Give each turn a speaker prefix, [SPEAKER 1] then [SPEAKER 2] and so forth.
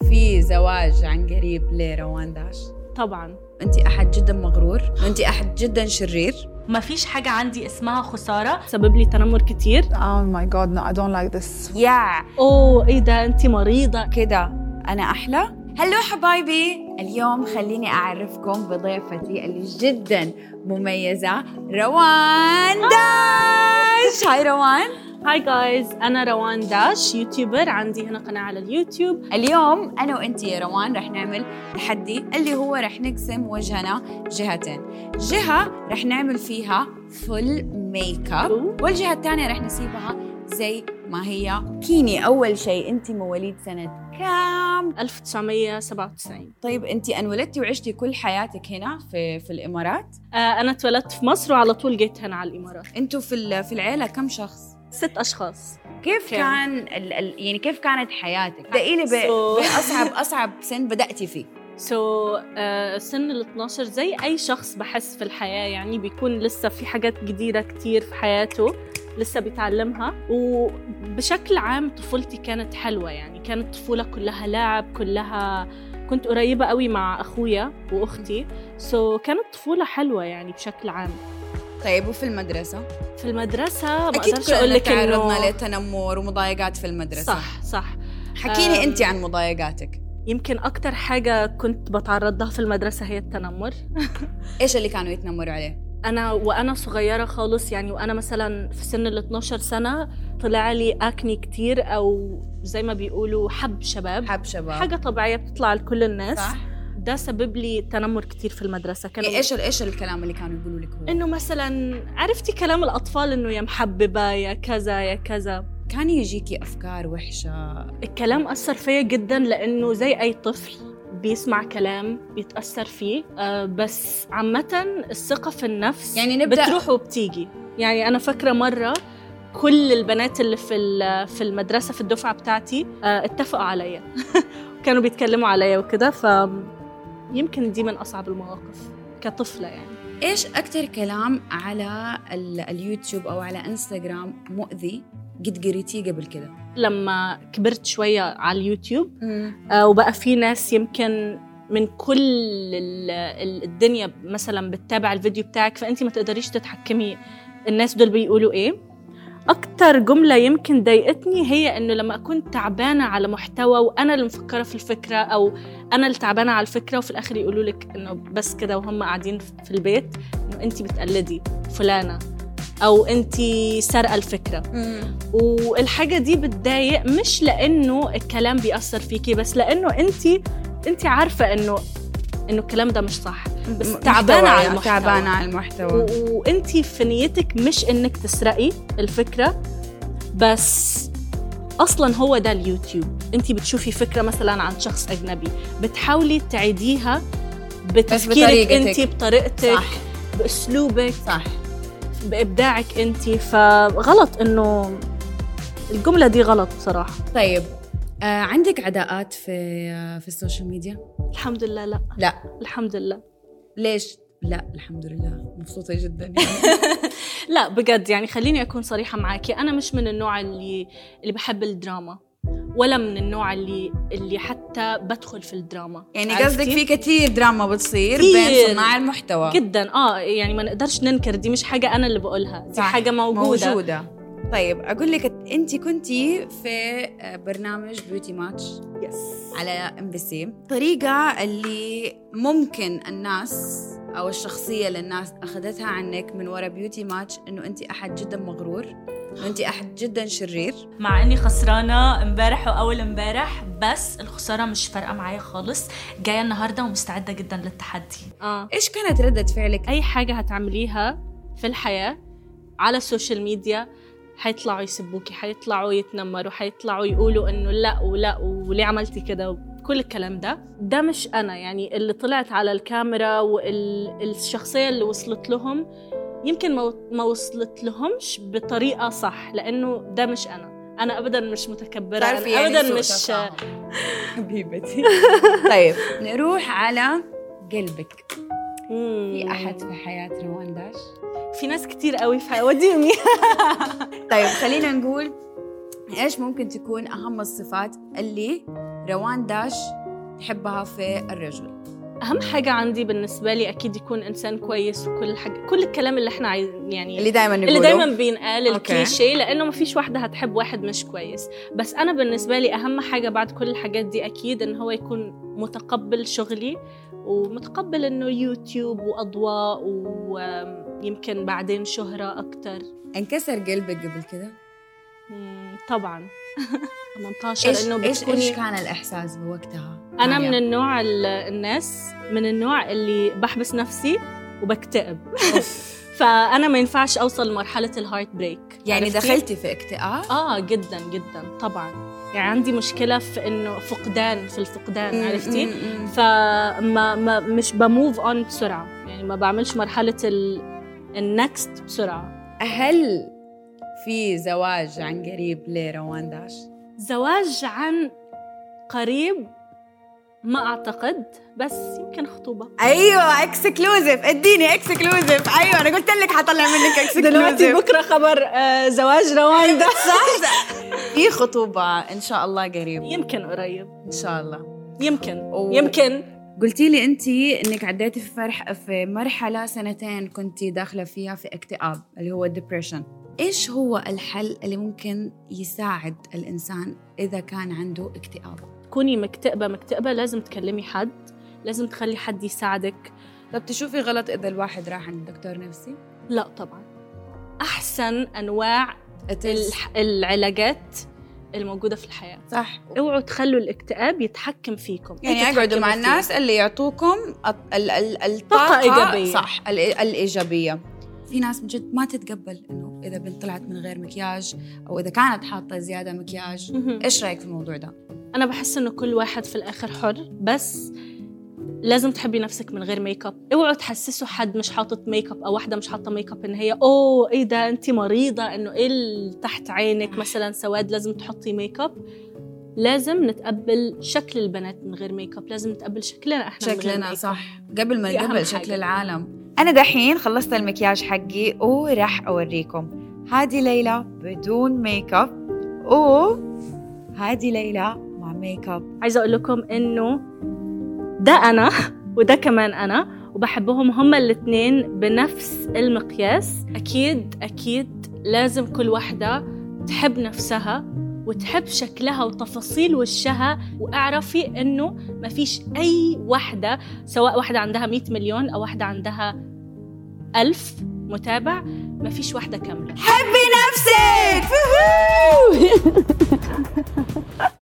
[SPEAKER 1] تحضري زواج عن قريب لروان داش
[SPEAKER 2] طبعا
[SPEAKER 1] انت احد جدا مغرور وانت احد جدا شرير
[SPEAKER 3] ما فيش حاجة عندي اسمها خسارة
[SPEAKER 2] سبب لي تنمر كتير
[SPEAKER 4] Oh my god, no, I don't like this.
[SPEAKER 1] يا
[SPEAKER 2] اوه ايه ده انت مريضه
[SPEAKER 1] كده انا احلى هلو حبايبي اليوم خليني اعرفكم بضيفتي اللي جدا مميزه روان داش هاي روان
[SPEAKER 2] هاي جايز انا روان داش يوتيوبر عندي هنا قناه على اليوتيوب
[SPEAKER 1] اليوم انا وانت يا روان رح نعمل تحدي اللي هو رح نقسم وجهنا جهتين جهه رح نعمل فيها فل ميك اب والجهه الثانيه رح نسيبها زي ما هي كيني اول شيء انت مواليد سنه كام
[SPEAKER 2] 1997
[SPEAKER 1] طيب انت انولدتي وعشتي كل حياتك هنا في في الامارات
[SPEAKER 2] آه انا اتولدت في مصر وعلى طول جيت هنا على الامارات
[SPEAKER 1] انتوا في ال- في العيله كم شخص
[SPEAKER 2] ست اشخاص
[SPEAKER 1] كيف
[SPEAKER 2] كم؟
[SPEAKER 1] كان ال ال يعني كيف كانت حياتك دقيلي ب-
[SPEAKER 2] So-
[SPEAKER 1] باصعب اصعب سن بداتي فيه
[SPEAKER 2] سو so, uh, سن ال 12 زي اي شخص بحس في الحياه يعني بيكون لسه في حاجات جديده كتير في حياته لسه بيتعلمها وبشكل عام طفولتي كانت حلوه يعني كانت طفوله كلها لعب كلها كنت قريبه قوي مع اخويا واختي سو so, كانت طفوله حلوه يعني بشكل عام
[SPEAKER 1] طيب وفي المدرسه
[SPEAKER 2] في المدرسه ما
[SPEAKER 1] اكيد
[SPEAKER 2] اقدرش اقول لك
[SPEAKER 1] تعرضنا
[SPEAKER 2] انه
[SPEAKER 1] لتنمر ومضايقات في المدرسه صح.
[SPEAKER 2] صح صح
[SPEAKER 1] حكيني
[SPEAKER 2] أم.
[SPEAKER 1] انت عن مضايقاتك
[SPEAKER 2] يمكن اكتر حاجه كنت بتعرض لها في المدرسه هي التنمر
[SPEAKER 1] ايش اللي كانوا يتنمروا عليه
[SPEAKER 2] انا وانا صغيره خالص يعني وانا مثلا في سن ال 12 سنه طلع لي اكني كتير او زي ما بيقولوا حب شباب
[SPEAKER 1] حب شباب
[SPEAKER 2] حاجه طبيعيه بتطلع لكل الناس
[SPEAKER 1] صح
[SPEAKER 2] ده سبب لي تنمر كتير في المدرسه كانوا
[SPEAKER 1] يعني ايش ال- ايش الكلام اللي كانوا يقولوا لك هو
[SPEAKER 2] انه مثلا عرفتي كلام الاطفال انه يا محببه يا كذا يا كذا
[SPEAKER 1] كان يجيكي افكار وحشه
[SPEAKER 2] الكلام أثر فيا جدا لأنه زي أي طفل بيسمع كلام بيتأثر فيه آه، بس عامة الثقة في النفس
[SPEAKER 1] يعني نبدأ-
[SPEAKER 2] بتروح وبتيجي يعني أنا فاكرة مرة كل البنات اللي في ال- في المدرسة في الدفعة بتاعتي آه، اتفقوا عليا كانوا بيتكلموا عليا وكده ف يمكن دي من أصعب المواقف كطفلة يعني
[SPEAKER 1] ايش اكثر كلام على ال- اليوتيوب او على انستغرام مؤذي قد قريتيه قبل كده
[SPEAKER 2] لما كبرت شوية على اليوتيوب آه، وبقى في ناس يمكن من كل ال- ال- الدنيا مثلا بتتابع الفيديو بتاعك فانت ما تقدريش تتحكمي الناس دول بيقولوا ايه اكتر جمله يمكن ضايقتني هي انه لما اكون تعبانه على محتوى وانا اللي مفكره في الفكره او انا اللي تعبانه على الفكره وفي الاخر يقولوا لك انه بس كده وهم قاعدين في البيت انه انت بتقلدي فلانه او انت سارقه الفكره والحاجه دي بتضايق مش لانه الكلام بيأثر فيكي بس لانه انت انت عارفه انه انه الكلام ده مش صح بس تعبانه على المحتوى
[SPEAKER 1] تعبانه على المحتوى
[SPEAKER 2] و- وانت في نيتك مش انك تسرقي الفكره بس اصلا هو ده اليوتيوب انت بتشوفي فكره مثلا عن شخص اجنبي بتحاولي تعيديها بتفكيرك
[SPEAKER 1] بطريقتك.
[SPEAKER 2] انت بطريقتك
[SPEAKER 1] صح
[SPEAKER 2] باسلوبك
[SPEAKER 1] صح
[SPEAKER 2] بابداعك انت فغلط انه الجمله دي غلط بصراحه
[SPEAKER 1] طيب آه عندك عداءات في آه في السوشيال ميديا
[SPEAKER 2] الحمد لله لا
[SPEAKER 1] لا
[SPEAKER 2] الحمد لله
[SPEAKER 1] ليش؟ لا الحمد لله مبسوطة جدا يعني.
[SPEAKER 2] لا بجد يعني خليني اكون صريحه معاكي انا مش من النوع اللي اللي بحب الدراما ولا من النوع اللي اللي حتى بدخل في الدراما
[SPEAKER 1] يعني
[SPEAKER 2] عرفتي؟
[SPEAKER 1] قصدك في كثير دراما بتصير
[SPEAKER 2] كتير.
[SPEAKER 1] بين صناع المحتوى
[SPEAKER 2] جدا اه يعني ما نقدرش ننكر دي مش حاجه انا اللي بقولها دي
[SPEAKER 1] صح،
[SPEAKER 2] حاجه موجوده, موجودة.
[SPEAKER 1] موجودة طيب اقول لك انت كنتي في برنامج بيوتي ماتش
[SPEAKER 2] يس
[SPEAKER 1] على ام بي سي الطريقة اللي ممكن الناس او الشخصية اللي الناس اخذتها عنك من ورا بيوتي ماتش انه انت احد جدا مغرور وانت احد جدا شرير
[SPEAKER 3] مع اني خسرانة امبارح واول امبارح بس الخسارة مش فارقة معايا خالص جاية النهاردة ومستعدة جدا للتحدي
[SPEAKER 2] اه
[SPEAKER 1] ايش كانت ردة فعلك
[SPEAKER 2] اي حاجه هتعمليها في الحياه على السوشيال ميديا هيطلعوا يسبوكي هيطلعوا يتنمروا هيطلعوا يقولوا انه لا ولا وليه عملتي كده كل الكلام ده ده مش انا يعني اللي طلعت على الكاميرا والشخصيه اللي وصلت لهم يمكن ما- ما وصلت لهمش بطريقه صح لانه ده مش انا انا ابدا مش متكبره
[SPEAKER 1] تعرفي يعني
[SPEAKER 2] أنا ابدا
[SPEAKER 1] سوء
[SPEAKER 2] مش
[SPEAKER 1] تفاهم. حبيبتي طيب نروح على قلبك
[SPEAKER 2] مم.
[SPEAKER 1] في احد في حياه روان داش
[SPEAKER 2] في ناس كتير قوي في وديني
[SPEAKER 1] طيب خلينا نقول ايش ممكن تكون اهم الصفات اللي روان داش تحبها في الرجل
[SPEAKER 2] اهم حاجه عندي بالنسبه لي اكيد يكون انسان كويس وكل حاجه كل الكلام اللي احنا عايزين يعني
[SPEAKER 1] اللي دائما
[SPEAKER 2] اللي
[SPEAKER 1] نقوله
[SPEAKER 2] دايما بينقال
[SPEAKER 1] أوكي.
[SPEAKER 2] الكليشيه لانه ما فيش واحده هتحب واحد مش كويس بس انا بالنسبه لي اهم حاجه بعد كل الحاجات دي اكيد ان هو يكون متقبل شغلي ومتقبل انه يوتيوب واضواء ويمكن بعدين شهره اكتر
[SPEAKER 1] انكسر قلبك قبل كذا
[SPEAKER 2] مم، طبعا 18
[SPEAKER 1] ايش
[SPEAKER 2] انه
[SPEAKER 1] ايش
[SPEAKER 2] بتكوني
[SPEAKER 1] ايش كان الاحساس بوقتها
[SPEAKER 2] انا من
[SPEAKER 1] ماريا؟
[SPEAKER 2] النوع ال- الناس من النوع اللي بحبس نفسي وبكتئب فانا ما ينفعش اوصل لمرحله الهارت بريك
[SPEAKER 1] يعني
[SPEAKER 2] عرفتي؟
[SPEAKER 1] دخلتي في اكتئاب
[SPEAKER 2] اه جدا جدا طبعا يعني عندي مشكله في انه فقدان في الفقدان عرفتي
[SPEAKER 1] م- م- م.
[SPEAKER 2] فما ما مش بموف اون بسرعه يعني ما بعملش مرحله ال النكست بسرعه
[SPEAKER 1] هل في زواج عن قريب لروان داش؟
[SPEAKER 2] زواج عن قريب ما اعتقد بس يمكن خطوبه
[SPEAKER 1] ايوه اكسكلوزيف اديني اكسكلوزيف ايوه انا قلت لك حطلع منك
[SPEAKER 2] دلوقتي بكره خبر آه، زواج رواندا
[SPEAKER 1] صح صح. في خطوبه ان شاء الله قريب
[SPEAKER 2] يمكن قريب
[SPEAKER 1] ان شاء الله
[SPEAKER 2] يمكن
[SPEAKER 1] و-
[SPEAKER 2] يمكن
[SPEAKER 1] قلتي لي انت انك عديتي في فرح في مرحله سنتين كنت داخله فيها في اكتئاب اللي هو الدبريشن ايش هو الحل اللي ممكن يساعد الانسان اذا كان عنده اكتئاب
[SPEAKER 2] تكوني مكتئبه مكتئبه لازم تكلمي حد لازم تخلي حد يساعدك
[SPEAKER 1] طب تشوفي غلط اذا الواحد راح عند دكتور نفسي
[SPEAKER 2] لا طبعا احسن انواع الح- العلاجات الموجوده في الحياه
[SPEAKER 1] صح
[SPEAKER 2] اوعوا تخلوا الاكتئاب يتحكم فيكم
[SPEAKER 1] يعني
[SPEAKER 2] انتوا
[SPEAKER 1] اقعدوا مع
[SPEAKER 2] تتحكموا فيه.
[SPEAKER 1] الناس اللي يعطوكم الط- ال- ال- الطاقة
[SPEAKER 2] طاقة إيجابية.
[SPEAKER 1] صح ال- الإيجابية في ناس من جد ما تتقبل انه اذا بنت طلعت من غير مكياج او اذا كانت حاطه زياده مكياج
[SPEAKER 2] مهم.
[SPEAKER 1] ايش رايك في الموضوع ده؟
[SPEAKER 2] انا بحس انه كل واحد في الاخر حر بس لازم تحبي نفسك من غير ميك اب اوعوا تحسسوا حد مش حاطط ميك اب او واحده مش حاطه ميك اب ان هي اوه ايه ده انت مريضه انه ايه اللي تحت عينك مثلا سواد لازم تحطي ميك اب لازم نتقبل شكل البنات من غير ميك اب لازم نتقبل شكلنا احنا من غير
[SPEAKER 1] شكلنا
[SPEAKER 2] ميك
[SPEAKER 1] صح قبل ما
[SPEAKER 2] دي أهم
[SPEAKER 1] نقبل
[SPEAKER 2] حاجة.
[SPEAKER 1] شكل العالم انا دحين خلصت المكياج حقي وراح اوريكم هادي ليلى بدون ميك اب و هادي ليلى مع ميك اب
[SPEAKER 2] عايزه اقول لكم انه ده انا وده كمان انا وبحبهم هما الاثنين بنفس المقياس اكيد اكيد لازم كل واحده تحب نفسها وتحب شكلها وتفاصيل وشها واعرفي انه ما فيش اي واحده سواء واحده عندها 100 مليون او واحده عندها ألف متابع ما فيش واحده كامله
[SPEAKER 1] حبي نفسك